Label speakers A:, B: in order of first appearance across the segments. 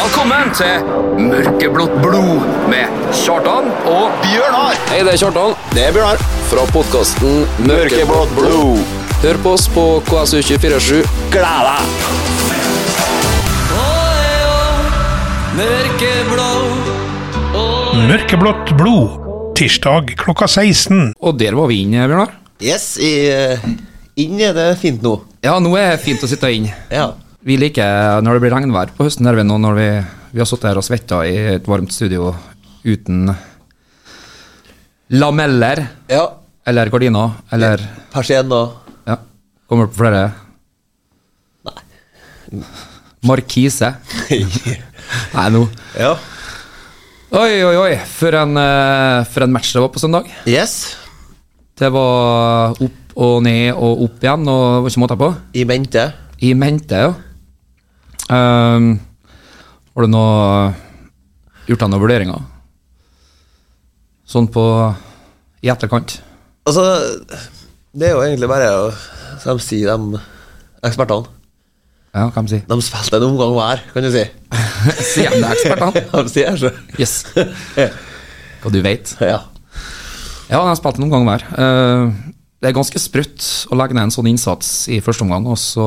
A: Velkommen til Mørkeblått blod med Kjartan og
B: Bjørnar
C: Hei, det er Kjartan.
B: Det er Bjørnar
C: Fra podkasten
B: Mørkeblått blod
C: Hør på oss på KSU247.
B: Gled deg
D: Mørkeblått blod, tirsdag klokka 16.
A: Og der var vi inne, Bjørnar.
B: Yes, i, eh, inn er det fint nå
A: Ja, nå er det fint å sitte inn.
B: Ja
A: Vi liker når det blir regnvær på høsten, der vi nå når vi, vi har sittet her og svetta i et varmt studio uten lameller
B: Ja
A: eller gardiner eller
B: Persien og
A: Ja. Kommer på flere. Markise. Nei, nå
B: Ja
A: Oi, oi, oi. For en, eh, for en match det var på søndag.
B: Yes
A: Det var opp og ned og opp igjen, og det var ikke måte på.
B: I mente
A: I mente, ja. Ehm, har du noe eh, gjort deg noen vurderinger? Sånn på i etterkant?
B: Altså Det er jo egentlig bare å- Som de sier de Ekspertene
A: Ja, hva de sier
B: De spilte en omgang hver Kan du si
A: Sier de det, ekspertene?
B: De sier så
A: Yes. Hva du vet.
B: Ja
A: Ja, jeg har spilt noen ganger hver. Eh, det er ganske sprøtt å legge ned en sånn innsats i første omgang, og så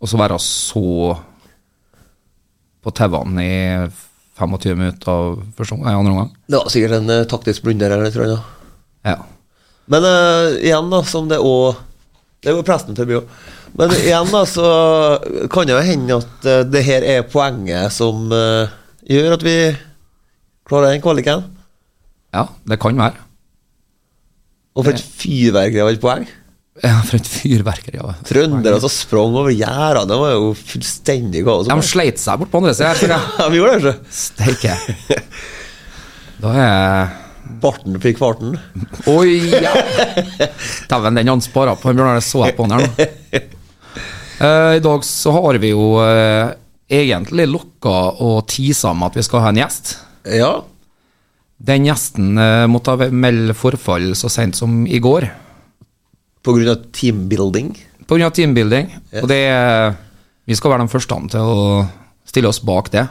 A: Og så være så på tauene i 25 minutter av første omgang, nei, andre omgang.
B: Det var sikkert en eh, taktisk blunder Eller noe tror jeg da
A: Ja.
B: Men eh, igjen, da, som det òg Det var presten til Bjø. Men igjen, da, så kan det jo hende at eh, det her er poenget som eh, gjør at vi klarer den kvaliken.
A: ja, det kan være.
B: Og for et fyrverkeri av et poeng.
A: Ja, for et fyrverkeri. Ja.
B: Trøndere som sprang over gjerdene, det var jo fullstendig kaos.
A: De sleit seg bort på andre sida her, tror jeg.
B: Ja, vi gjorde det, ikke
A: Steike. Da er
B: Barten fikk farten.
A: Oi, ja! Dæven, den han sparer på, Bjørnar. Det så jeg på han her nå. Eh, I dag så har vi jo eh, egentlig lokka og tisa med at vi skal ha en gjest.
B: Ja.
A: Den gjesten eh, måtte ha melde forfall så sent som i går
B: På grunn av teambuilding.
A: pga. teambuilding. Og det eh, Vi skal være de første til å stille oss bak det.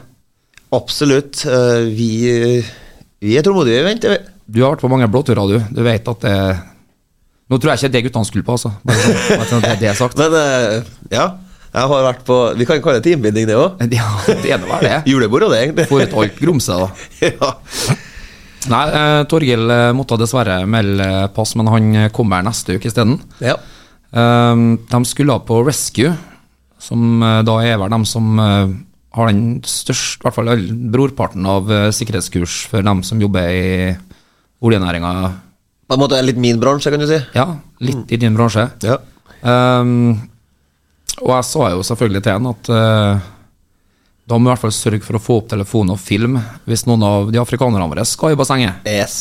B: Absolutt. eh, Vi, vi er tålmodige, vi venter, vi.
A: Du har vært på mange blåturer, du. Du vet at det Nå tror jeg ikke det er guttene skulle på, altså. Bare sånn, bare sånn at det er det sagt.
B: Men eh, ja, jeg har vært på Vi kan kalle det teambuilding, det òg.
A: Ja, det er nå vel det.
B: Julebord og det, egentlig.
A: For et alt grumse, da.
B: ja.
A: Nei, eh, Torgill eh, måtte dessverre melde eh, pass, men han eh, kommer neste uke isteden.
B: ja.
A: Um, de skulle på Rescue, som eh, da er vel dem som eh, har den største, i hvert fall all- brorparten av eh, sikkerhetskurs for dem som jobber i oljenæringa.
B: På en måte litt min bransje, kan du si.
A: Ja, litt i din bransje.
B: Ja.
A: Um, og jeg sa jo selvfølgelig til han at eh, da må vi i hvert fall sørge for å få opp telefon og film hvis noen av de afrikanerne våre skal i bassenget.
B: Yes.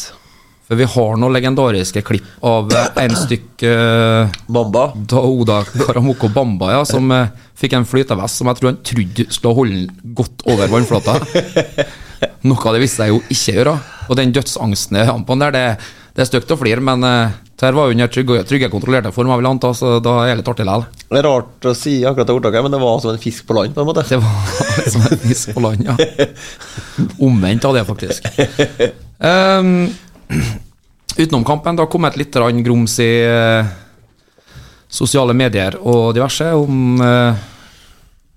A: For vi har noen legendariske klipp av eh, en stykk eh,
B: Mamba.
A: Daoda Karamoko Bamba, ja, som eh, fikk en flytevest som jeg tror han trodde skulle holde den godt over vannflata. Noe av det visste jeg jo ikke gjøre. Og den dødsangsten i han på han der, det, det er stygt å flire, men eh, det her var jo under trygge, trygge kontrollerte former, vil jeg anta, så da er det litt artig likevel.
B: Det er rart å si akkurat det ordtaket, men det var som en fisk på land, på en måte.
A: Det var som en fisk på land, ja. Omvendt av det, faktisk. Ehm, utenom kampen, det har kommet litt grann grums i eh, sosiale medier og diverse om uh,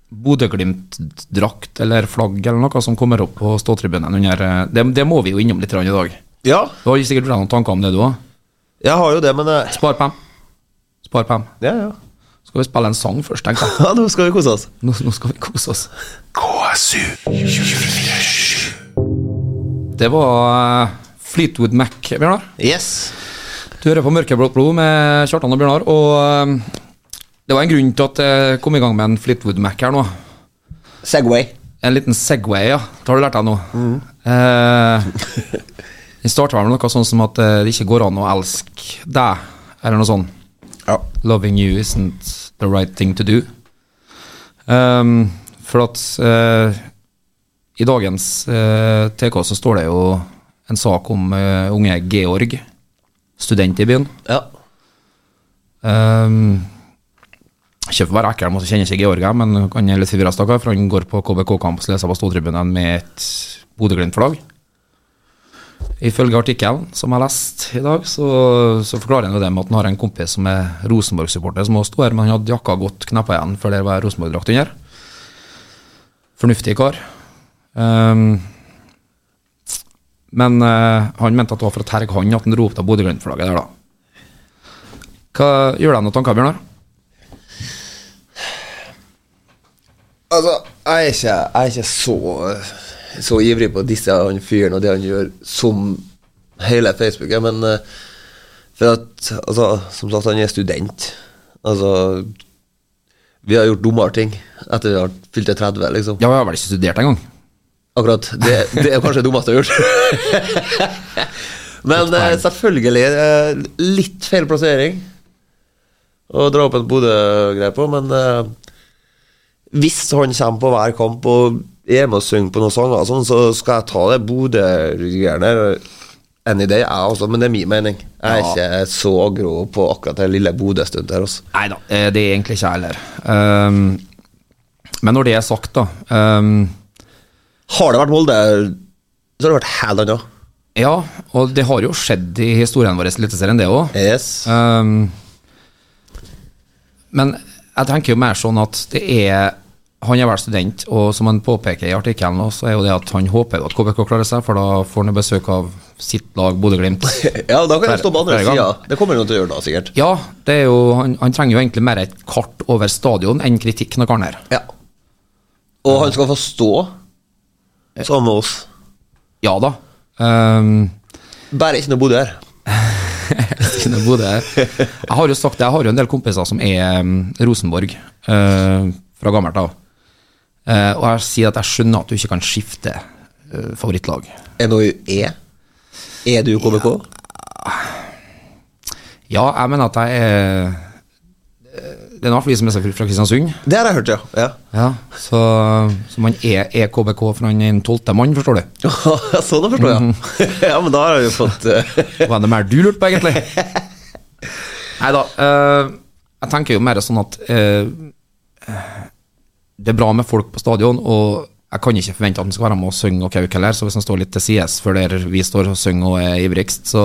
A: Bodø-Glimt-drakt eller flagg eller noe som kommer opp på ståtribunen under eh, det, det må vi jo innom litt grann i dag.
B: Ja,
A: Du har sikkert noen tanker om det, du òg?
B: jeg har jo det, men eh,
A: Spar pem. Spar pem.
B: Ja, ja.
A: Skal vi spille en sang først, tenker jeg.
B: ja nå skal vi kose oss.
A: Nå, nå skal vi kose oss. Det var eh, Fleetwood Mac, Bjørnar.
B: Yes.
A: Du hører på Mørkeblått blod med Kjartan og Bjørnar. Og eh, det var en grunn til at jeg kom i gang med en Fleetwood Mac her nå.
B: Segway.
A: En liten Segway, ja. Det har du lært deg nå. Eh, Den starta vel med noe sånn som at eh, det ikke går an å elske deg, eller noe sånt.
B: Ja.
A: 'Loving you isn't the right thing to do'. Um, for at eh, i dagens eh, TK så står det jo en sak om eh, unge Georg, student i byen.
B: ja.
A: Um, Ehm, Kjøper bare ekkel, måtte kjenne seg Georgia, men han er litt forvirra, stakkar, for han går på KBK-kamp og leser på stortribunen med et Bodø-Glimt-flagg. Ifølge artikkelen som jeg leste i dag, så, så forklarer han jo det med at han har en kompis som er Rosenborg-supporter, som også sto her, men han hadde jakka godt kneppa igjen før det var Rosenborg-drakt under. Fornuftig kar. Ehm, men eh, han mente at det var for å terge han at han ropte Bodø-Glimt-flagget der, da. Hva gjør deg noen tanker, Bjørnar?
B: Altså, jeg er ikke, jeg er ikke så, så ivrig på å disse han fyren og det han gjør, som hele Facebook, er, men eh, for at, altså, som sagt, han er student. Altså, vi har gjort dummere ting etter vi har fylt 30, liksom.
A: Ja, jeg har vel ikke studert engang.
B: Akkurat. Det, det er kanskje det dummeste jeg har gjort. Men eh, selvfølgelig eh, litt feil plassering å dra opp en Bodø-greie på, men eh, hvis han kommer på hver kamp og er med og synger på noen sanger, og sånn, så skal jeg ta det Bodø-greiene any day, jeg også, men det er min mening. Jeg er ikke så grå på akkurat det lille Bodø-stuntet her. altså. Også.
A: Nei da, eh, det er egentlig ikke jeg heller. Ehm, men når det er sagt, da ehm,
B: Har det vært Molde, så har det vært helt annet.
A: Ja, og det har jo skjedd i historien vår i Eliteserien, det òg.
B: Yes.
A: Ehm, men jeg tenker jo mer sånn at det er Han er vel student, og som han påpeker i artikkelen, nå, så er jo det at han håper jo at KBK klarer seg, for da får han jo besøk av sitt lag Bodø-Glimt.
B: Ja, da kan jeg stå på andre
A: Flere
B: sida.
A: ganger.
B: Det kommer han jo til å gjøre da, sikkert.
A: Ja, det er jo, han, han trenger jo egentlig mer et kart over stadion enn kritikk noe annet.
B: Ja. Og han skal få stå sammen med oss.
A: Ja da. Um,
B: Bare ikke noe Bodø her.
A: Sine Bodø her. Jeg har jo sagt det, jeg har jo en del kompiser som er um, Rosenborg eh, fra gammelt av. Eh, og jeg sier at jeg skjønner at du ikke kan skifte eh, favorittlag.
B: NOU-E? Er du KBK?
A: Ja, jeg mener at jeg er eh, Det er i hvert fall de som er fra Kristiansund.
B: Det har jeg hørt, ja. ja.
A: Ja, så, så man er EKBK, for han er en tolvte mann, forstår du.
B: sånn det forstår jeg. ja, men da har jeg jo fått eh,
A: Hva er det mer du lurte på, egentlig? Nei da. eh, jeg tenker jo mer sånn at eh, det er bra med folk på stadion, og jeg kan ikke forvente at de skal være med og synge og kauke heller, så hvis de står litt til sides før der vi står og synger og er ivrigst, så,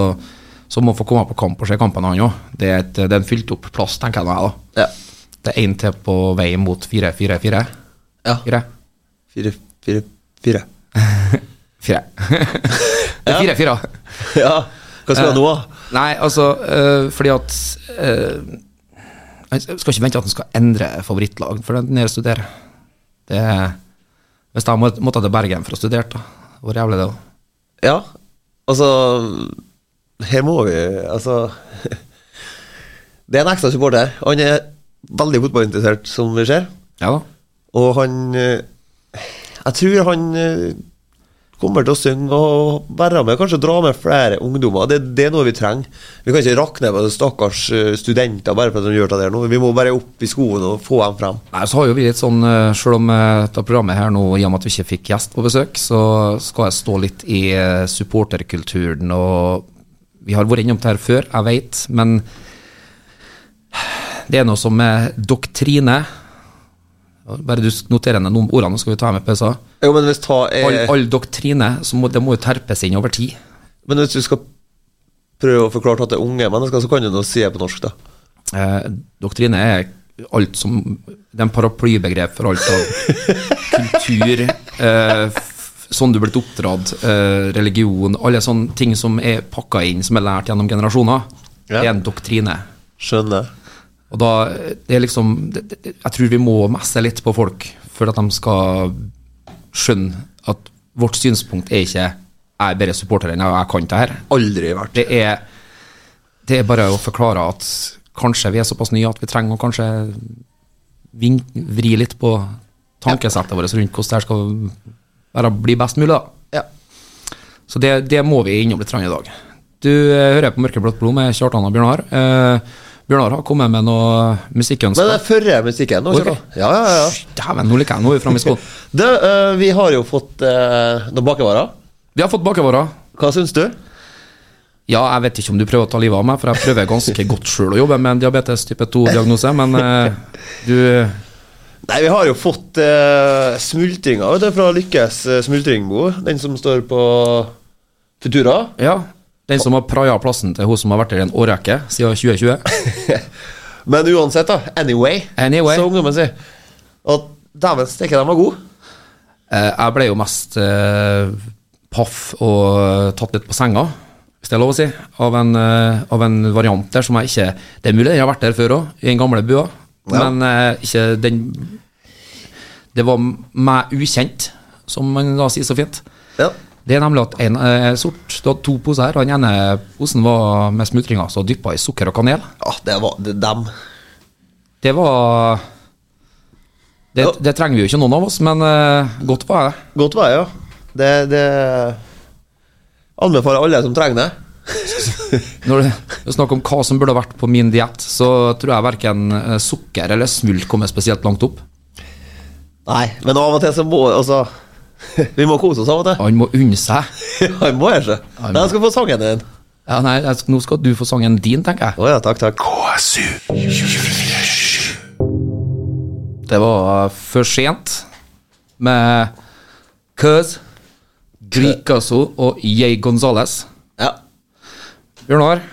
A: så må de få komme på kamp og se kampen, han òg. Det, er et- det er en fylt opp plass, tenker jeg nå, jeg,
B: Ja.
A: da. Det er én til på vei mot 4-4-4.
B: ja.
A: Fire.
B: Fire, fire, fire.
A: Fire. det er fire-fire.
B: Ja. Eh, Hva skal vi ha nå, da?
A: Nei, altså, øh, fordi at øh, Jeg skal ikke vente at han skal endre favorittlag for den nede studerer. Det er, hvis jeg må, måtte til Bergen for å studere, da. Hvor jævlig det er.
B: Ja, altså Her må vi Altså Det er en ekstra supporter. Han er veldig fotballinteressert, som vi ser.
A: Ja da.
B: Og han eh, Jeg tror han eh, kommer til å synge og være med, kanskje dra med flere ungdommer. Det, det er noe vi trenger. Vi kan ikke rakne på stakkars eh, studenter bare for at de gjør det der nå. Vi må bare opp i skoen og få dem frem.
A: Nei, så har jo vi litt sånn, øh, Selv om øh, dette programmet her nå, i og med at vi ikke fikk gjest på besøk, så skal jeg stå litt i øh, supporterkulturen og Vi har vært innom det her før, jeg veit, men det er noe som er doktrine. Bare du noterer ned noen ordene, så skal vi ta med PSA.
B: Jo, men hvis, ta, eh,
A: All, all doktrine, så må, det må jo terpes inn over tid.
B: men hvis du skal prøve å forklare at det er unge mennesker, så kan du nå si det på norsk, da.
A: Eh, doktrine er alt som Det er en paraplybegrep for alt av kultur, eh, f- sånn du er blitt oppdratt, eh, religion Alle sånne ting som er pakka inn, som er lært gjennom generasjoner.
B: Ja.
A: Det er en doktrine.
B: Skjønner.
A: Og da, eh, det er liksom det, det, det- Jeg tror vi må messe litt på folk for at de skal skjønne at vårt synspunkt er ikke 'jeg er bare supporter enn jeg, og jeg kan det her'.
B: Aldri vært
A: Det er, det er bare å forklare at kanskje vi er såpass nye at vi trenger å kanskje vin, vri litt på tankesettet vårt rundt hvordan det her skal være, bli best mulig. da.
B: Ja.
A: Så det, det må vi innom litt grann i dag. Du eh, hører på Mørkeblått blod med Kjartan og Bjørnar. Eh, Bjørnar har kommet med noe
B: Men det
A: musikkønsker.
B: er førre musikken. Nå,
A: Ok.
B: okay. Ja, ja, ja.
A: Dæven, nå liker jeg nå er vi framme i skoen.
B: Du, eh, vi har jo fått eh, noen bakevarer.
A: Vi har fått bakervarer.
B: Hva syns du?
A: Ja, jeg vet ikke om du prøver å ta livet av meg, for jeg prøver ganske godt sjøl å jobbe med en diabetes type 2-diagnose, men eh, du
B: Nei, vi har jo fått uh, smultringa vet du, fra Lykkes eh, smultringbo. Den som står på Futura.
A: Ja. Den som har praia plassen til hun som har vært der i en årrekke siden 2020.
B: Men uansett, da. Anyway,
A: Anyway.
B: så ungdommen sier. At dæven steike, de var gode.
A: Eh, jeg ble jo mest eh, paff og tatt litt på senga, hvis det er lov å si, av en, eh, av en variant der som jeg ikke Det er mulig den har vært der før òg, i den gamle bua, men eh, ikke den Det var meg ukjent, som man da sier så fint.
B: Ja.
A: Det er nemlig at en eh, sort Du hadde to poser her, og den ene posen var med smultringer som dyppa i sukker og kanel.
B: ja, Ah, det var det, dem.
A: Det var det, det trenger vi jo ikke noen av oss, men eh, godt var det.
B: Godt vei, ja. Det, det Anbefaler alle som trenger det.
A: Når det er snakk om hva som burde ha vært på min diett, så tror jeg verken eh, sukker eller smult kommer spesielt langt opp.
B: Nei, men av og til så må altså Vi må kose oss av og til.
A: Han må unne seg.
B: Han må gjøre seg.
A: Han må.
B: Nei, Jeg skal få sangen din.
A: Ja, nei, jeg sk- nå skal du få sangen din, tenker jeg.
B: Å ja, takk, takk.
D: KSU.
A: Det var eh, for sent med Cuz, Grikaso og Jay Gonzales.
B: Ja.
A: Bjørnar,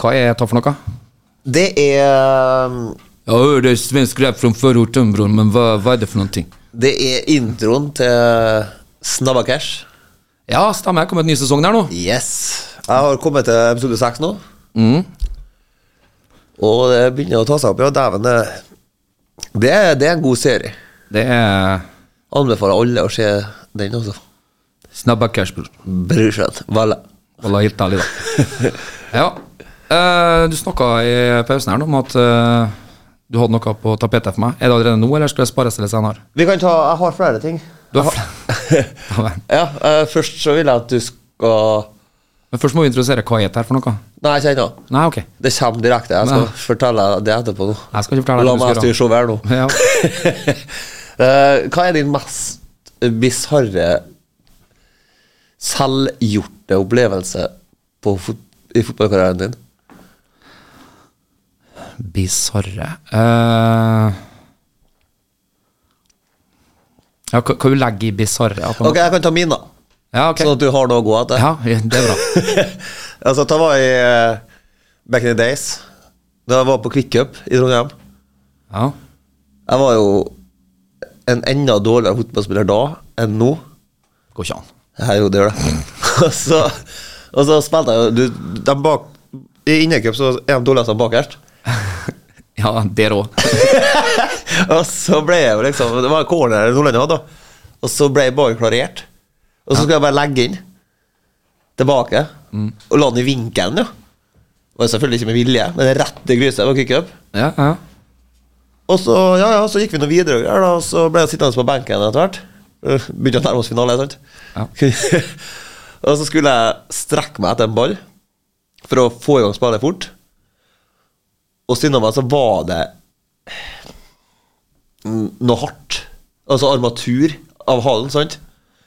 A: hva er dette for noe?
B: Det er um,
A: Ja, det er svensk rap fra forort til Umbro, men hva, hva er det for noen ting?
B: Det er introen til Snabba Cash.
A: Ja, stemmer, det kommer en ny sesong der nå.
B: Yes. Jeg har kommet til episode seks nå.
A: Mm.
B: Og det begynner å ta seg opp. Ja, dæven, det, det, er- det er en god serie.
A: Det er
B: Anbefaler alle å se den også.
A: snabba cash, bror.
B: Bryr seg veldig.
A: Wallah, helt ærlig, da. Ja. eh, du snakka i pausen her nå om at eh, du hadde noe på tapetet for meg. Er det allerede nå, eller skal det spares til senere?
B: Vi kan ta Jeg har flere ting.
A: Du har Ja, men-
B: Ja, eh, først så vil jeg at du skal
A: Men først må vi introdusere hva er det her for noe.
B: Nei, ikke ennå.
A: Nei, ok.
B: Det kommer direkte. Jeg skal
A: Nei.
B: fortelle deg det etterpå nå.
A: Jeg skal ikke fortelle deg hva
B: La
A: du
B: meg
A: skal
B: styre showet her nå.
A: Ja.
B: Eh, hva er din mest bisarre selvgjorte opplevelse på fot i fotballkarrieren din?
A: Bisarre. Eh, ja, hva, hva du legger i bisarre? at man-
B: Ok, jeg kan ta min, da.
A: Ja, ok.
B: Sånn at du har noe å gå etter.
A: ja, det er bra.
B: Altså, det var i eh, back in the days. Da jeg var på Kvikkup i Trondheim.
A: Ja.
B: Jeg var jo en enda dårligere fotballspiller da enn nå.
A: Går ikke an.
B: Ja, jo, det gjør det. og, så, og så spilte jeg jo du, de bak, I innercup så er de dårligste bakerst.
A: Ja, der òg.
B: Og så ble jeg jo liksom Det var en corner Nordlandet hadde, da. Og så ble jeg bare klarert. Og så skulle jeg bare legge inn. Tilbake. Og la den i vinkelen, jo. Var selvfølgelig ikke med vilje, men rett i gryset. Det var kickup.
A: Ja, ja.
B: Og så, ja, ja, så gikk vi noe videre, og greier, da, og så ble jeg sittende på benken etter hvert. Eh, Begynte å nærme oss finale, sant?
A: Ja.
B: og så skulle jeg strekke meg etter en ball for å få i gang spillet fort. Og siden meg så var det mm, noe hardt. Altså armatur av halen, sant?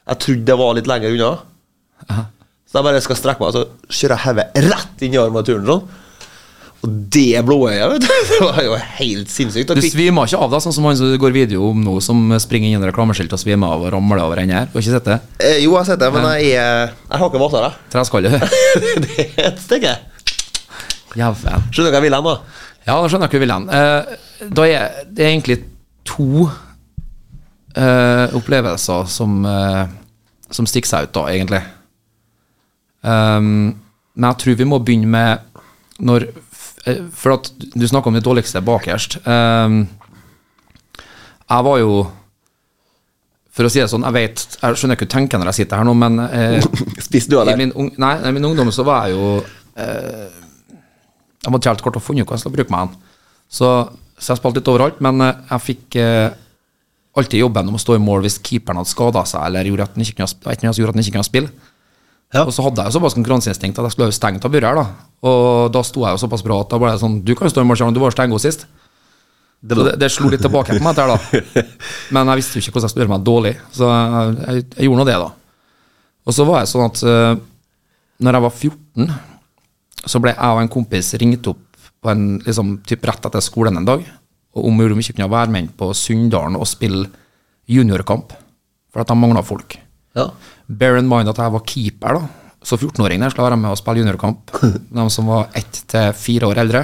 B: Jeg trodde det var litt lenger unna. Så jeg bare skal strekke meg, og så kjører jeg hodet rett inn i armaturen sånn. Og det blåøyet, vet du! Det var jo helt sinnssykt. Og
A: Du
B: kvikk-
A: svimer ikke av, da, sånn som han som det går video om nå, som springer inn i reklameskilt og svimer av og ramler over en her. Du har ikke sett det?
B: Eh, jo, jeg har sett det, men jeg, er- jeg har ikke vasa det.
A: Treskalle.
B: det er et stykke.
A: Jævlen.
B: Skjønner du hva jeg vil hen, da?
A: Ja, da skjønner jeg hvor vi vil hen. Eh, Da er det er egentlig to eh, opplevelser som, eh, som stikker seg ut, da, egentlig. Um, men jeg tror vi må begynne med når f- eh, For at du snakker om det dårligste bakerst. Um, jeg var jo For å si det sånn, jeg vet Jeg skjønner ikke hva du tenker når jeg sitter her nå, men eh,
B: Spiste du av
A: i
B: det?
A: min, ung, nei, I min ungdom så var jeg jo eh, Jeg måtte helt kort ha funnet ut hva jeg skulle bruke meg hen. Så, så jeg spilte litt overalt, men eh, jeg fikk eh, alltid jobben om å stå i mål hvis keeperen hadde skada seg eller gjorde at han ikke kunne, ha sp- det var et eller annet som gjorde at han ikke kunne spille.
B: Ja.
A: Og så hadde jeg jo såpass konkurranseinstinkt at jeg skulle ha stengt av buret her, da. Og da sto jeg jo såpass bra at da ble jeg sånn Du kan jo stå i mål, Kjartan, du var jo steingod sist. Det, så det, det slo litt tilbake på meg der, da. Men jeg visste jo ikke hvordan jeg skulle gjøre meg dårlig, så jeg, jeg, jeg gjorde nå det, da. Og så var jeg sånn at eh, når jeg var 14, Så ble jeg og en kompis ringt opp på en, liksom, typ rett etter skolen en dag, og om vi ikke kunne være med inn på Sunndalen og spille juniorkamp, for at de mangla folk.
B: Ja.
A: Bear in mind at jeg var keeper, da. Så 14-åringen der skulle være med og spille juniorkamp. De som var ett til fire år eldre.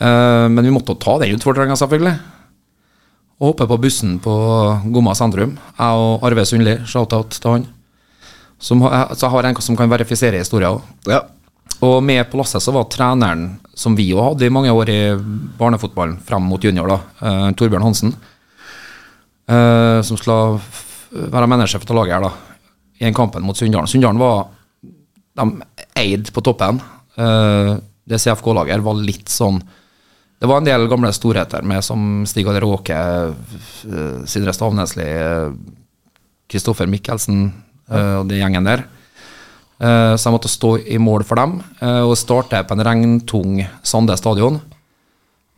A: Eh, men vi måtte jo ta den utfordringa, selvfølgelig. Og hoppe på bussen på Gomma sentrum. Jeg og Arve Sundli, shout-out til han. Som har, så jeg har en som kan verifisere historien òg.
B: ja.
A: Og med på lasset så var treneren, som vi jo hadde i mange år i barnefotballen, frem mot junior, da, eh, Torbjørn Hansen, eh, som skulle f- være menneskesjef til laget her, da, i en kampen mot Sunndalen. Sunndalen var De eide på toppen. Eh, det CFK-laget her var litt sånn Det var en del gamle storheter med, som Stig Aller Åke, eh, Sindre Stavnesli, eh, Kristoffer Mikkelsen eh, og den gjengen der. Eh, Så jeg måtte stå i mål for dem, eh, og starte på en regntung Sande stadion.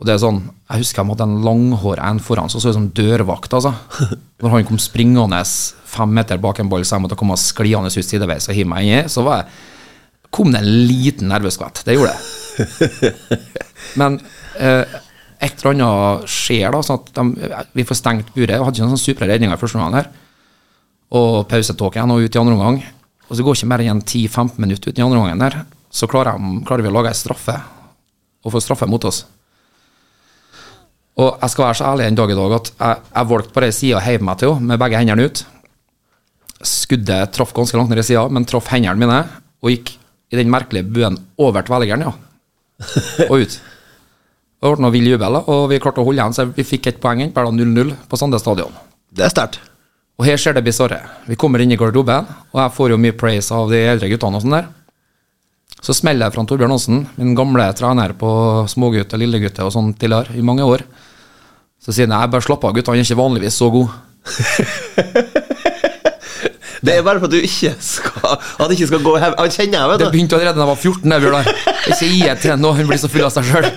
A: Og det er sånn, Jeg husker de hadde en langhår en foran som så ut som dørvakt. altså. Når han kom springende fem meter bak en ball, så jeg måtte komme skliende ut sideveis og hive meg inni, så var jeg, kom det en liten nerveskvett. Det gjorde det. Men eh, et eller annet skjer, da. sånn at de, Vi får stengt buret. Jeg hadde ikke noen sånn supre redninger i første omgang her og pausetåken og ut i andre omgang. Og så går ikke mer enn 10-15 minutter ut i andre omgangen der, så klarer, de, klarer vi å lage ei straffe, og få straffe mot oss. Og jeg skal være så ærlig en dag i dag at jeg, jeg valgte på den sida og heiv meg til henne med begge hendene ut. Skuddet traff ganske langt ned i sida, men traff hendene mine, og gikk i den merkelige buen over til velgeren, ja. Og ut. Det ble noe vill jubel, da, og vi klarte å holde igjen, så vi fikk ett poeng inn, bare 0-0 på Sande stadion.
B: Det er sterkt.
A: Og her skjer det bisarre. Vi kommer inn i garderoben, og jeg får jo mye praise av de eldre guttene og sånn der. Så smeller jeg fra Torbjørn Hansen, min gamle trener på smågutt og lillegutt og sånn tidligere, i mange år. Så sier han jeg bare slapp av, guttene er ikke vanligvis så gode.
B: Det er bare for at du ikke skal At du ikke skal gå hev... Han kjenner jeg, vet
A: Det
B: du.
A: begynte allerede da jeg var 14, det Bjørnar. Ikke gi et til nå, hun blir så full av seg sjøl.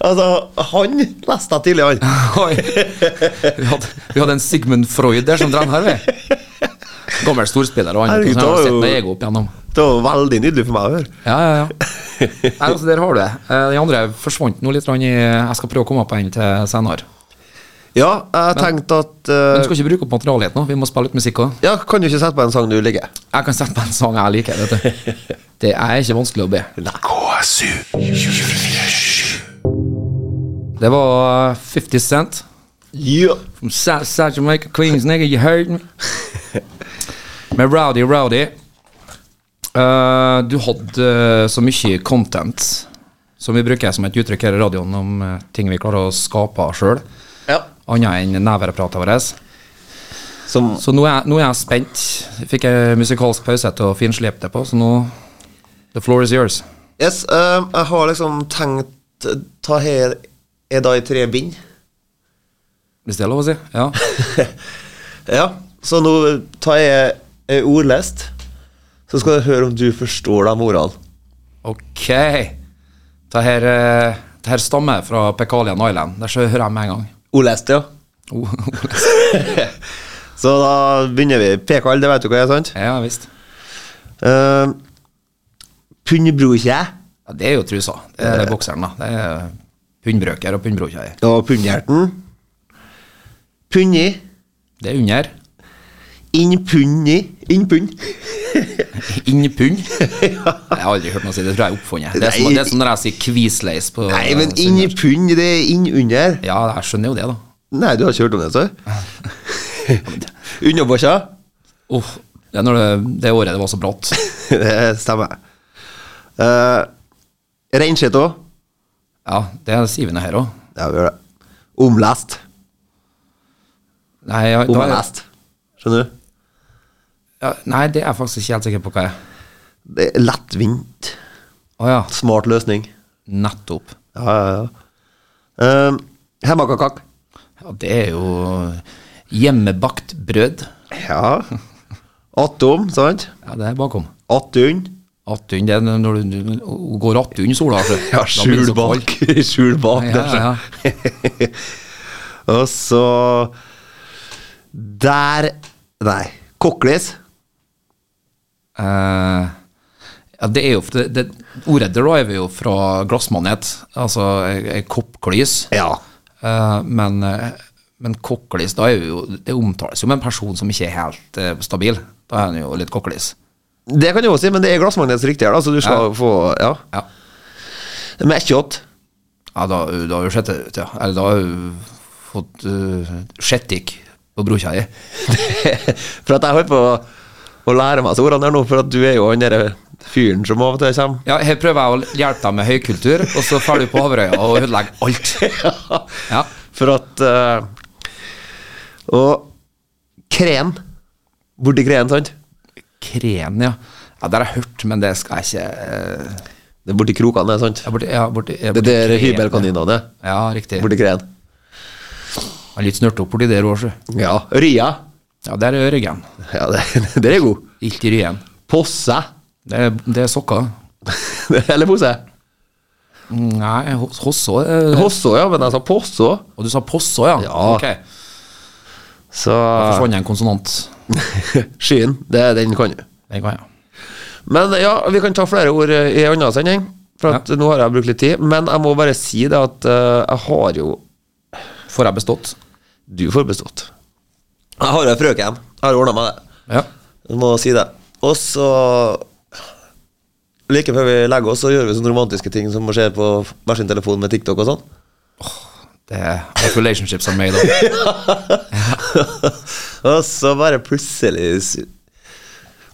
B: Altså, han leste jeg tidlig, han.
A: Vi, hadde- vi hadde en Sigmund Freud der som trener, vi. Gammel storspiller og han.
B: Herregud,
A: Kunne
B: da
A: ha
B: er
A: sett
B: jo-
A: meg ego opp igjennom.
B: Det var veldig nydelig for meg å høre.
A: Ja, ja, ja. Nei, altså, der har du det. Eh, Den andre forsvant nå litt. grann i, jeg skal prøve å komme på en til senere.
B: Ja, jeg tenkte at
A: Men du
B: eh,
A: skal ikke bruke opp materialet nå. Vi må spille litt musikk òg.
B: Ja, kan du ikke sette på en sang du liker?
A: Jeg kan sette på en sang jeg liker. vet du. Det er ikke vanskelig å be.
D: KSU.
A: Det var 50 Cent.
B: Ja.
A: From South South Jamaica, Queens, nigga, you heard me. Med Rowdy Rowdy. Eh, du hadde eh, så mye content, som vi bruker som et uttrykk her i radioen, om eh, ting vi klarer å skape sjøl,
B: ja.
A: annet enn neverepratet vårt.
B: Som
A: Så nå er, nå er jeg spent. Fikk jeg musikalsk pause til å finslipe det på, så nå The floor is yours.
B: Yes, eh, jeg har liksom tenkt eh, Ta her er da i tre bind.
A: Hvis det er lov å si? Ja.
B: Ja, så nå tar jeg ei ordlest, så skal du høre om du forstår de ordene.
A: Ok. Det her, eh, det her stammer fra Pekalian Island. Der så hører jeg med en gang.
B: Ordlest, ja.
A: Oh,
B: Så da begynner vi. Pekal, det vet du hva er, sant?
A: ja visst.
B: Uh, Pundbrokje
A: Ja, det er jo trusa. Det er
B: Eh.
A: det bokseren, da. Det er Pundbrøker og pundbrokjei.
B: og pundhjerten. Punni.
A: Det er under.
B: Innpunni. Innpund.
A: Innpund. Jeg har aldri hørt noe si det, tror jeg er oppfunnet. Det er som,
B: Nei.
A: det er som når jeg sier kvisleis på
B: Nei, men
A: Sunnmøre.
B: innpund, det er innunder.
A: Ja, jeg skjønner jo det, da.
B: Nei, du har ikke hørt om det, så? Underbåkja.
A: Uff, det er når det, det året det var så bratt.
B: Det stemmer. Uh, Reinskitt òg.
A: Ja, det sier vi nå her òg.
B: Ja, vi gjør det. Omlest.
A: Nei, ja, da,
B: Omlest. Skjønner du?
A: ja, nei, det er jeg faktisk ikke helt sikker på hva jeg er.
B: Det er lettvint.
A: Å ja,
B: Smart løsning.
A: nettopp.
B: Ja, ja, ja. Uh, Hemmakakak.
A: Ja, det er jo hjemmebakt brød.
B: Ja. Attom, sant?
A: Ja, det er bakom.
B: Attund.
A: Attund, det er når du, du du går attund sola. Altså. Da
B: Ja,
A: blir det
B: skjul
A: så kaldt.
B: bak. Skjul bak,
A: Ja, ja, ja.
B: der, så. Og så Der Nei. Koklis.
A: Eh, Ja, det er jo, det, det, ordet der da er vi jo fra glassmanet, altså ei ei koppklys.
B: Ja.
A: Eh, men eh, men kokklis, da er vi jo, det omtales jo med en person som ikke er helt eh, stabil. Da er han jo litt kokklis.
B: Det kan du også si, men det er glassmagnets riktig her, da, så du skal få Ja.
A: Ja.
B: Men jeg er ikke åt.
A: Ja, da, da har du sett det ut, ja. Eller da har du fått uh, skjettikk på brokja di.
B: For at jeg holder på å- å lære meg disse ordene her nå, for at du er jo han derre fyren som av og til kommer.
A: Ja, her prøver jeg å hjelpe deg med høykultur, og så drar du på Haverøya og ødelegger alt. Ja.
B: For at eh, Og kren. Borti kreen, sant?
A: Kren, ja. Ja, Det har jeg hørt, men det skal jeg ikke eh,
B: Det er borti krokene, det, sant?
A: jeg borti, ja, borti, jeg
B: Det
A: borti
B: der
A: kren,
B: hybelkaninene.
A: Ja, riktig.
B: Borti kreen.
A: Jeg er litt snørt opp borti der òg, sjø.
B: Ja. Ria.
A: Ja, der er Ørgen.
B: Ja, det, der er god.
A: Ikke Ryen.
B: Posse.
A: Det er, det er sokker.
B: Eller pose.
A: Nei, hos- Hosså eh,
B: Hosså, ja, men jeg sa Posså.
A: Og du sa Posså, ja?
B: Ja.
A: Ok,
B: Så
A: Da forsvant en konsonant.
B: Skyen, det, den kan du.
A: Den kan jeg.
B: Men ja, vi kan ta flere ord eh, i en annen sending. For at nå har jeg brukt litt tid. Men jeg må bare si det at eh, jeg har jo
A: Får jeg bestått?
B: Du får bestått. Jeg har ei frøken. Jeg har ordna meg det.
A: Ja.
B: Jeg må si det. Og så Like før vi legger oss, så gjør vi sånne romantiske ting som å se på hver sin telefon med TikTok og sånn.
A: Det er et relationships are made of.
B: og så bare plutselig s-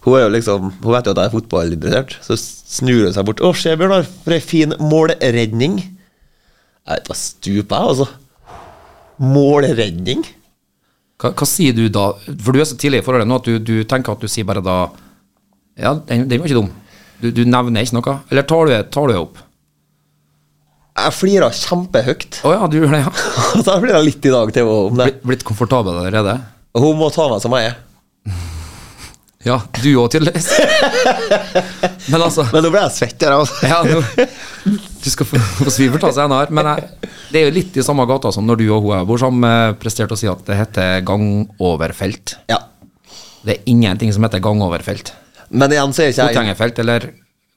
B: Hun er jo liksom Hun vet jo at jeg er fotballinteressert, så snur hun seg bort. 'Å, se, Bjørnar, for ei fin målredning.' Jeg vet da stuper jeg, altså. Målredning?
A: Hva, hva sier du da? For du er så tidlig i forholdet nå at du, du tenker at du sier bare da Ja, den, den var ikke dum. Du, du nevner ikke noe. Eller tar du det tar du det opp?
B: Jeg flirer kjempehøyt.
A: Å ja, du gjør det, ja.
B: Så jeg flirer litt i dag til henne om det.
A: Blitt, blitt komfortabel allerede?
B: Hun må ta meg som jeg er.
A: Ja, du òg, tydeligvis. Men altså
B: Men nå ble jeg svett. her, altså.
A: ja, nå, Du skal få, få svivert av seg senere, men jeg, det er jo litt i samme gata som når du og hun jeg bor sammen, eh, presterte å si at det heter gangoverfelt.
B: Ja.
A: Det er ingenting som heter gangoverfelt.
B: Men igjen så er ikke jeg
A: Fotgjengerfelt eller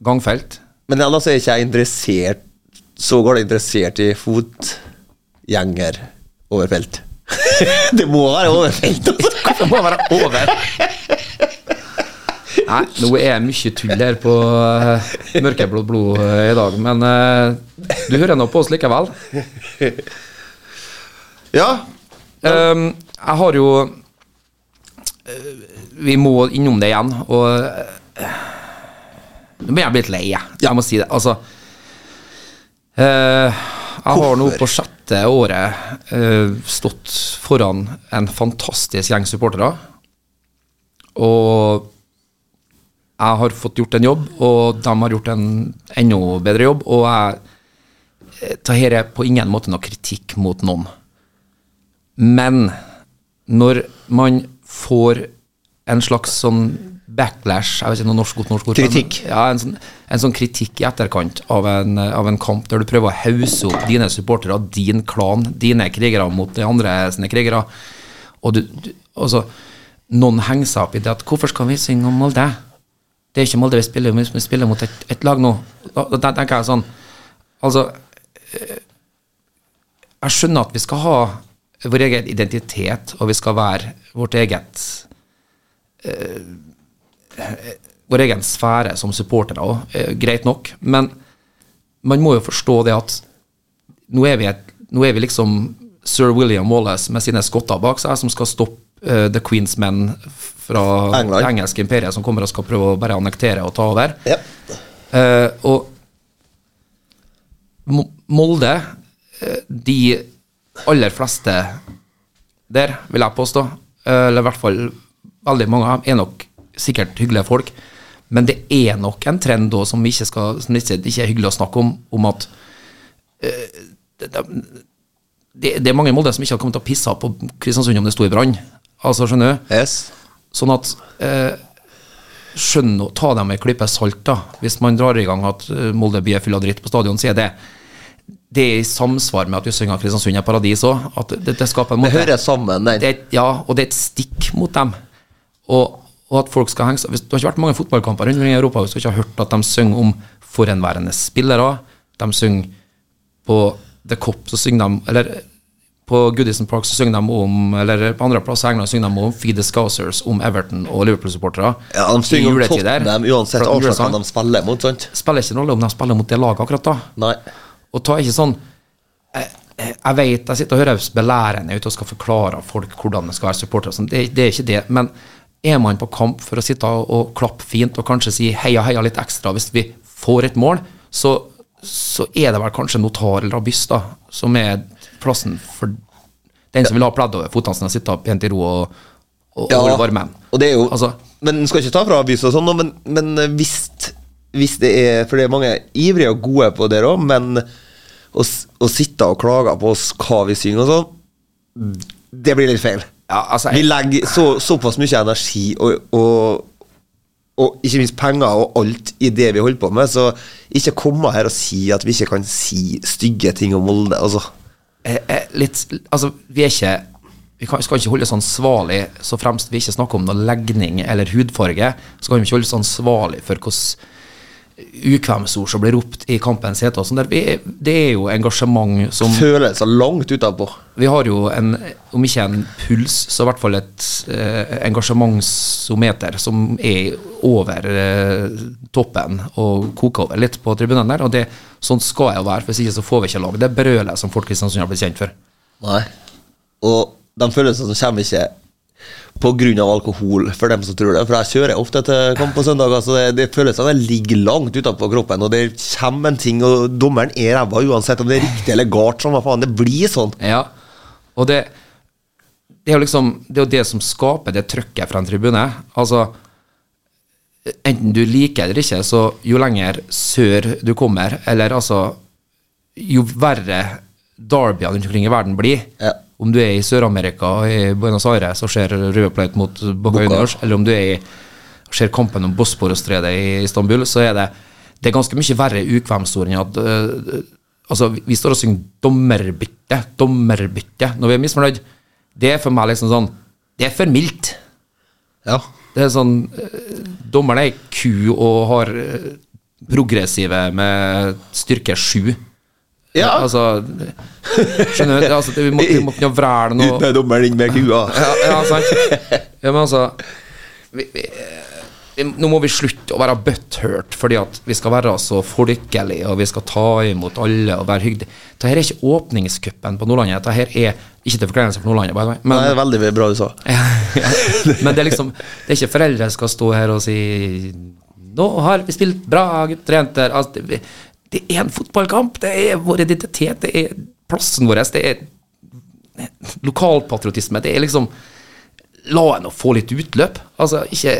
A: gangfelt.
B: Men igjen da, så er ikke jeg interessert Så går det interessert i fotgjenger over felt. det må være over felt, altså.
A: Det må være over. Nei, nå er jeg mye tull her på uh, mørkeblått blod eh, i dag, men eh, du hører nå på oss likevel.
B: Ja.
A: Ehm, jeg har jo eh, Vi må innom det igjen, og eh, Nå blir jeg blitt lei, jeg. Jeg må si det. Altså eh, Jeg har nå på sjette året eh, stått foran en fantastisk gjeng supportere. Og jeg har fått gjort en jobb, og de har gjort en enda bedre jobb. Og jeg Dette her er på ingen måte noe kritikk mot noen. Men når man får en slags sånn backlash, jeg vet ikke noe norsk, godt norsk ord for det, men-
B: Kritikk.
A: Ja, en sånn, en sånn kritikk i etterkant av en, av en kamp der du prøver å hause opp dine supportere, din klan, dine krigere mot de andre sine krigere. Og du, du altså, noen henger seg opp i det at hvorfor skal vi synge om Molde? Det er ikke Molde vi spiller mot, vi spiller mot et, et lag nå. Da, da tenker jeg sånn Altså, jeg skjønner at vi skal ha vår egen identitet, og vi skal være vårt eget eh, Vår egen sfære som supportere òg, greit nok. Men man må jo forstå det at nå er vi, et, nå er vi liksom sir William Wallace med sine skotter bak seg, som skal stoppe eh, The Queens Men fra
B: England.
A: det engelske imperiet, som kommer og skal prøve å bare annektere og ta over.
B: ja.
A: Eh, og Mo- Molde, eh, de aller fleste der, vil jeg påstå, eh, eller i hvert fall veldig mange av dem, er nok sikkert hyggelige folk. Men det er nok en trend da som ikke, skal, som ikke, ikke er hyggelig å snakke om, om at eh, det, det, det er mange i Molde som ikke hadde kommet til å pisse på Kristiansund om det sto i brann. Altså, skjønner du?
B: Yes.
A: Sånn at eh, skjønn å ta dem med en klype salt, da. Hvis man drar i gang at eh, Molde by er full av dritt på stadion, så er det det er i samsvar med at vi synger at Kristiansund er paradis òg. At det, det skaper en
B: Det
A: måte
B: hører sammen, den.
A: det er, et- Ja, og det er et stikk mot dem. Og, Og at folk skal henge seg Hvis- Det har ikke vært mange fotballkamper rundt omkring i Europa hvis du ikke har hørt at de synger om forhenværende spillere. De synger på The Cop, så synger de Eller på Goodison Park så synger de om Eller på andre plasser i England synger de om Feed the Scousers, om Everton og Liverpool-supportere.
E: Ja, de synger
A: I
E: om
A: juletider.
E: Tottenham uansett
A: For at
E: avslagene
A: julesang
E: de spiller mot, sant?
A: Spiller ikke noen rolle om de spiller mot det laget akkurat da.
E: Nei.
A: Og ta ikke sånn jeg, jeg eh, vet jeg sitter og høres belærende ut og skal forklare folk hvordan det skal være supporter. og sånn. Det, det er ikke det. Men er man på kamp for å sitte og klappe fint og kanskje si heia, heia litt ekstra hvis vi får et mål, så, så er det vel kanskje notar eller abyss da, som er plassen for den som vil ha pledd over føttene sine og sitte pent i ro og, og, og holde varmen.
E: Og det er jo
A: Altså-
E: Men en skal ikke ta fra avis og sånn, nå, men, men hvis, hvis det er For det er mange ivrige og gode på det òg, men å, s- å sitte og klage på oss hva vi synger og sånn, det blir litt feil.
A: Ja, altså,
E: Vi
A: jeg,
E: legger så, såpass mye energi og, og og ikke minst penger og alt i det vi holder på med, så ikke komme her og si at vi ikke kan si stygge ting om Molde, altså.
A: jeg, jeg, litt, altså, vi er ikke vi kan, skal ikke holde oss ansvarlig så fremst vi ikke snakker om noe legning eller hudfarge. Så kan vi ikke holde oss ansvarlig for hvordan ukvemsord som blir ropt i kampens hete. og sånn der. Vi- Det er jo engasjement som
E: Følelser langt utapå.
A: Vi har jo en, om ikke en puls, så i hvert fall et eh, engasjementsometer som er over eh, toppen og koker over litt på tribunene der. Og det, sånn skal jeg jo være, for hvis ikke så får vi ikke lag det brølet som folk i Kristiansund har blitt kjent for.
E: Nei. Og de følelsene som kommer ikke pga. alkohol, for dem som tror det. For jeg kjører ofte til kamp på søndager, så det, det følelsene ligger langt utapå kroppen. Og det kommer en ting, og dommeren er ræva uansett om det er riktig eller galt. Sånn, hva faen, det blir sånn.
A: Ja, og det Det er jo liksom Det er jo det som skaper det trøkket fra en tribune. Altså Enten du liker det eller ikke, så jo lenger sør du kommer, eller altså Jo verre derbyene rundt omkring i verden blir
E: Ja.
A: Om du er i Sør-Amerika og i Buenos Aires og ser Røde Plaut mot Boca Juniors, eller om du er i og ser kampen om Bosporosstredet i Istanbul, så er det det er ganske mye verre ukvemsord enn at øh, Altså, vi- vi står og synger 'dommerbytte', 'dommerbytte' når vi er misfornøyd. Det er for meg liksom sånn Det er for mildt.
E: Ja.
A: Det er sånn øh, Dommeren er ei ku og har øh, progressive med styrke sju.
E: Ja.
A: Altså Skjønner du? Det er Altså, det, vi må vi må kunne vræle noe
E: Uten dommeren inn med kua.
A: ja, ja, sant. Ja, men altså vi, vi, vi, Nå må vi slutte å være butthurt, fordi at vi skal være så folkelige, og vi skal ta imot alle og være hyggelige. Dette her er ikke åpningscupen på Nordlandet. Dette her er ikke til forkleinelse for Nordlandet, by the way.
E: Nei, det
A: Men,
E: er veldig bra du sa.
A: ja, men det er liksom Det er ikke foreldre som skal stå her og si Nå har vi spilt bra, gutter og jenter. Altså, det, vi- det er en fotballkamp. Det er vår identitet. Det er plassen vår. Det er lokalpatriotisme. Det er liksom La henne få litt utløp. Altså, ikke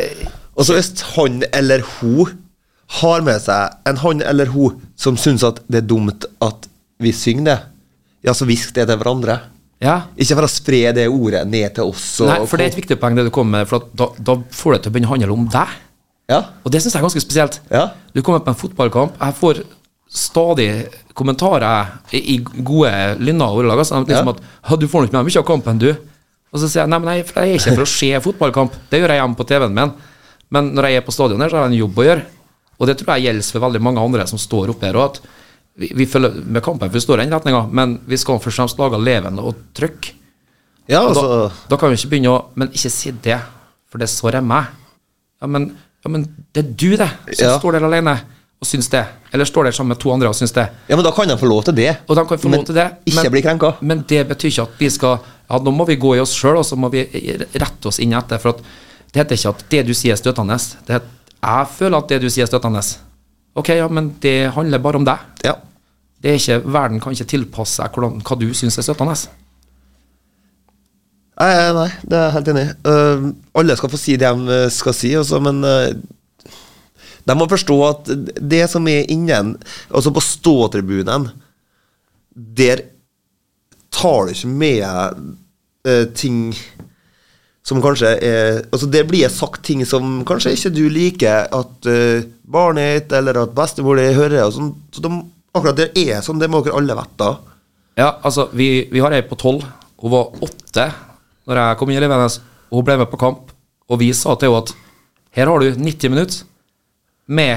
E: Og så hvis han eller hun har med seg en han eller hun som syns at det er dumt at vi synger det, ja, så hvisk det til hverandre.
A: Ja.
E: Ikke for å spre det ordet ned til oss. Og,
A: Nei, for det er et viktig poeng, det du kommer med. For at da, da får det til å begynne å handle om deg.
E: Ja,
A: Og det syns jeg er ganske spesielt.
E: Ja.
A: Du kommer på en fotballkamp. Jeg får stadig kommentarer i i gode lynner og ordelag. Altså, liksom
E: Ja.
A: at «Hå, 'Du får nok med deg mye av kampen, du'. Og så sier jeg nei, men jeg, for jeg er ikke for å se fotballkamp. Det gjør jeg hjemme på TV-en min. Men når jeg er på stadion her, så har jeg en jobb å gjøre. Og det tror jeg gjelder for veldig mange andre som står oppe her. Og at vi, vi følger med kampen, for vi står i den retninga, men vi skal først og fremst lage levende og trykk.
E: ja
A: Og
E: altså,
A: da, da kan vi ikke begynne å Men ikke si det, for det sår jeg meg. Ja, men, ja, men det er du, det, som
E: Ja.
A: står der alene og syns det. Eller står der sammen med to andre og syns det.
E: ja, men da kan de få lov til det.
A: Og de kan få
E: Men
A: lov til det.
E: ikke bli krenka.
A: Men det betyr ikke at vi skal Ja, nå må vi gå i oss sjøl, og så må vi rette oss inn etter. For at det heter ikke at det du sier, er støtende. Det heter jeg føler at det du sier, er støtende. Ok, ja, men det handler bare om deg.
E: Ja.
A: Det er ikke, Verden kan ikke tilpasse seg hvordan, hva du syns er støtende.
E: Nei, nei, det er jeg helt enig i. Øh, alle skal få si det de skal si, også, men øh, de må forstå at det som er innen, altså på ståtribunen, der tar du ikke med øh, ting som kanskje er Altså, der blir det sagt ting som kanskje ikke du liker at øh, barnet ditt eller at bestemor di hører, og sånn. Så de, akkurat det er sånn, det må dere alle vite.
A: Ja, altså, vi, vi har ei på tolv. Hun var åtte når jeg kom inn i Levenes. Hun ble med på kamp, og vi sa til henne at Her har du 90 minutter med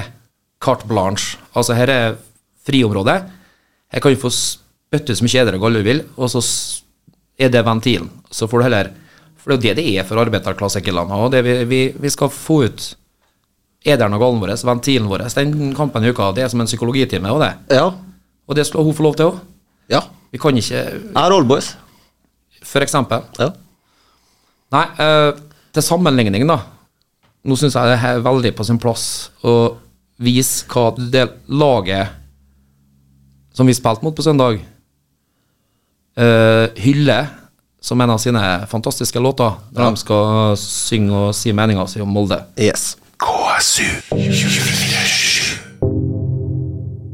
A: carte blanche. Altså, her er friområdet. Her kan du få spytte så mye eddergall du vil, og så s- er det ventilen. Så får du heller For det er jo det det er for arbeiderklassekulene. Og det vi, vi, vi skal få ut ederen og gallen vår, ventilen vår. Den kampen i uka, det er som en psykologitime, og det.
E: Ja.
A: Og det skal hun få lov til òg.
E: ja.
A: Vi kan ikke
E: Jeg har oldboys.
A: For eksempel.
E: Ja.
A: Nei, eh, til sammenligning, da. Nå syns jeg det er veldig på sin plass å vise hva det laget som vi spilte mot på søndag, eh, hyller som en av sine fantastiske låter når de skal synge og si meninga si om Molde.
E: Yes.
D: KSU 247.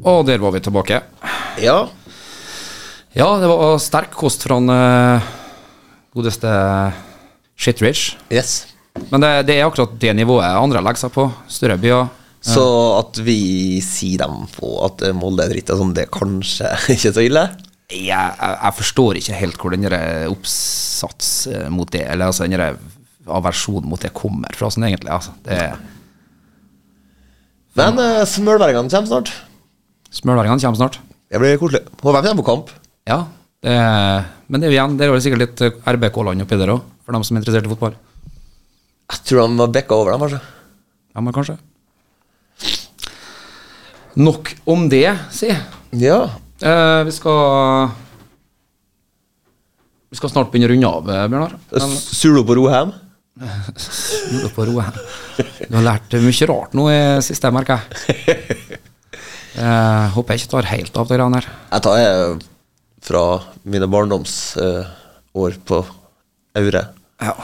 A: Og der var vi tilbake.
E: Ja.
A: Ja, det var sterk kost fra han eh, godeste Shitridge.
E: Yes.
A: Men det, det er akkurat det nivået andre legger seg på. Større byer.
E: Så at vi sier dem på at Molde er dritt, og sånn, det er kanskje ikke så ille?
A: Jeg, jeg, jeg forstår ikke helt hvor den der eh, oppsats eh, mot det, eller altså den der aversjonen mot det kommer fra, sånn egentlig. Altså. Det er-
E: Men uh, smølværingene kommer snart.
A: Smølværingene kommer snart.
E: Det blir koselig. Og hvem kommer på kamp?
A: Ja, det, er- men det er jo igjen, det er jo sikkert litt eh, RBK-land oppi der òg, for dem som er interessert i fotball.
E: Jeg tror de var bekka over dem, kanskje.
A: Ja, men kanskje. Nok om det, si.
E: Ja.
A: Eh, vi skal Vi skal snart begynne å runde av, eh, Bjørnar. Men-
E: Sulo på Roheim?
A: Lurer på ro her. Du har lært mye rart nå i siste, jeg merker jeg. Eh, håper jeg ikke tar helt av de greiene her.
E: Jeg tar eh, fra mine barndomsår på Aure.
A: Ja.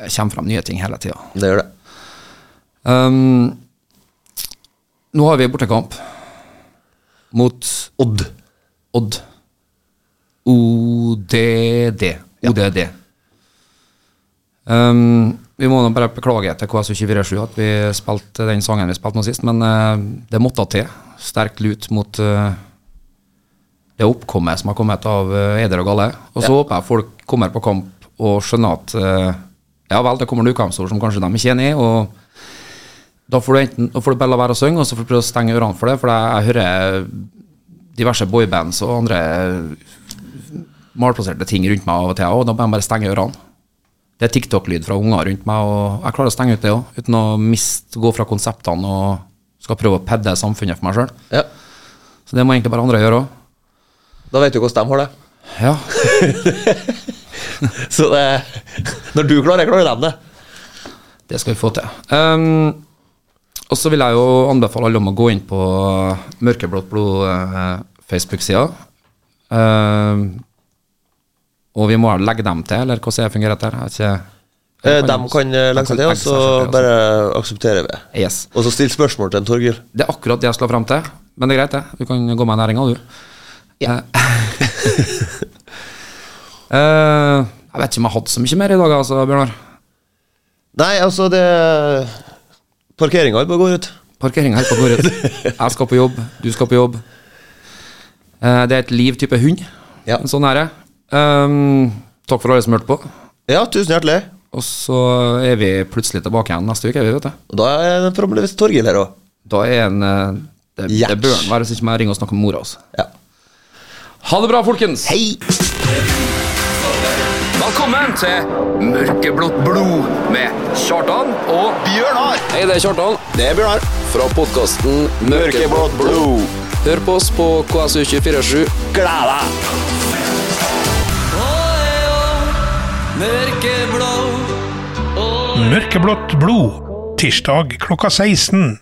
A: Det kommer fram nye ting hele tida.
E: Det gjør det.
A: Um, nå har vi bortekamp mot
E: Odd.
A: Odd. ODD. ODD. Um, vi må nå bare beklage til KSU247 at vi spilte den sangen vi spilte nå sist, men eh, det måtte til. Sterk lut mot eh, det oppkommet som har kommet av eh, Eder og Galle. Og så håper jeg folk kommer på kamp og skjønner at eh, ja vel, det kommer ukampsord som kanskje de ikke er enig i. og da får du enten da får du bare la være å synge, og så får du prøve å stenge ørene for det, for jeg, jeg hører diverse boybands og andre eh, malplasserte ting rundt meg av og til, og da må jeg bare stenge ørene. Det er TikTok-lyd fra unger rundt meg, og jeg klarer å stenge ut det òg, uten å miste, gå fra konseptene og skal prøve å pedde samfunnet for meg sjøl.
E: Ja.
A: Så det må egentlig bare andre gjøre òg.
E: Da vet du hvordan de har det.
A: Ja.
E: Så det Når du klarer det, klarer de det.
A: Det skal vi få til. Ehm, og så vil jeg jo anbefale alle om å gå inn på Mørkeblått eh, blod-Facebook-sida. Ehm, og vi må vel legge dem til, eller hvordan det fungerer etter? Jeg vet ikke.
E: Eh, De kan eh, legge seg til, og så bare aksepterer vi.
A: Yes.
E: Og så still spørsmål til en Torgil.
A: Det er akkurat det jeg skal frem til, men det er greit, det. Du kan gå med i næringa, du. Eh, jeg vet ikke om jeg hadde så mye mer i dag, altså, Bjørnar.
E: Nei, altså, det Parkeringa er på går ut.
A: Parkeringa her på går ut. Jeg skal på jobb, du skal på jobb. Eh, Det er et liv type hund.
E: Ja.
A: Sånn er det. Ehm, takk for alle som hørte på.
E: Ja, tusen hjertelig.
A: Og så er vi plutselig tilbake igjen neste uke. er Vi, vet du.
E: Og da er det forhåpentligvis Torgil her òg.
A: Da er en eh, Det, det
E: Yes.
A: bør han være, så ikke må jeg ringe og snakke med mora hans.
E: Ja.
A: Ha det bra, folkens!
E: Hei!
A: Velkommen til Mørkeblått blod med Kjartan og
C: Bjørnar! Hei, det er Kjartan.
E: Det er Bjørnar.
C: Fra podkasten Mørkeblått blod. Hør på oss på KSU247.
E: Gled deg!
D: Mørkeblått blod. Tirsdag klokka 16.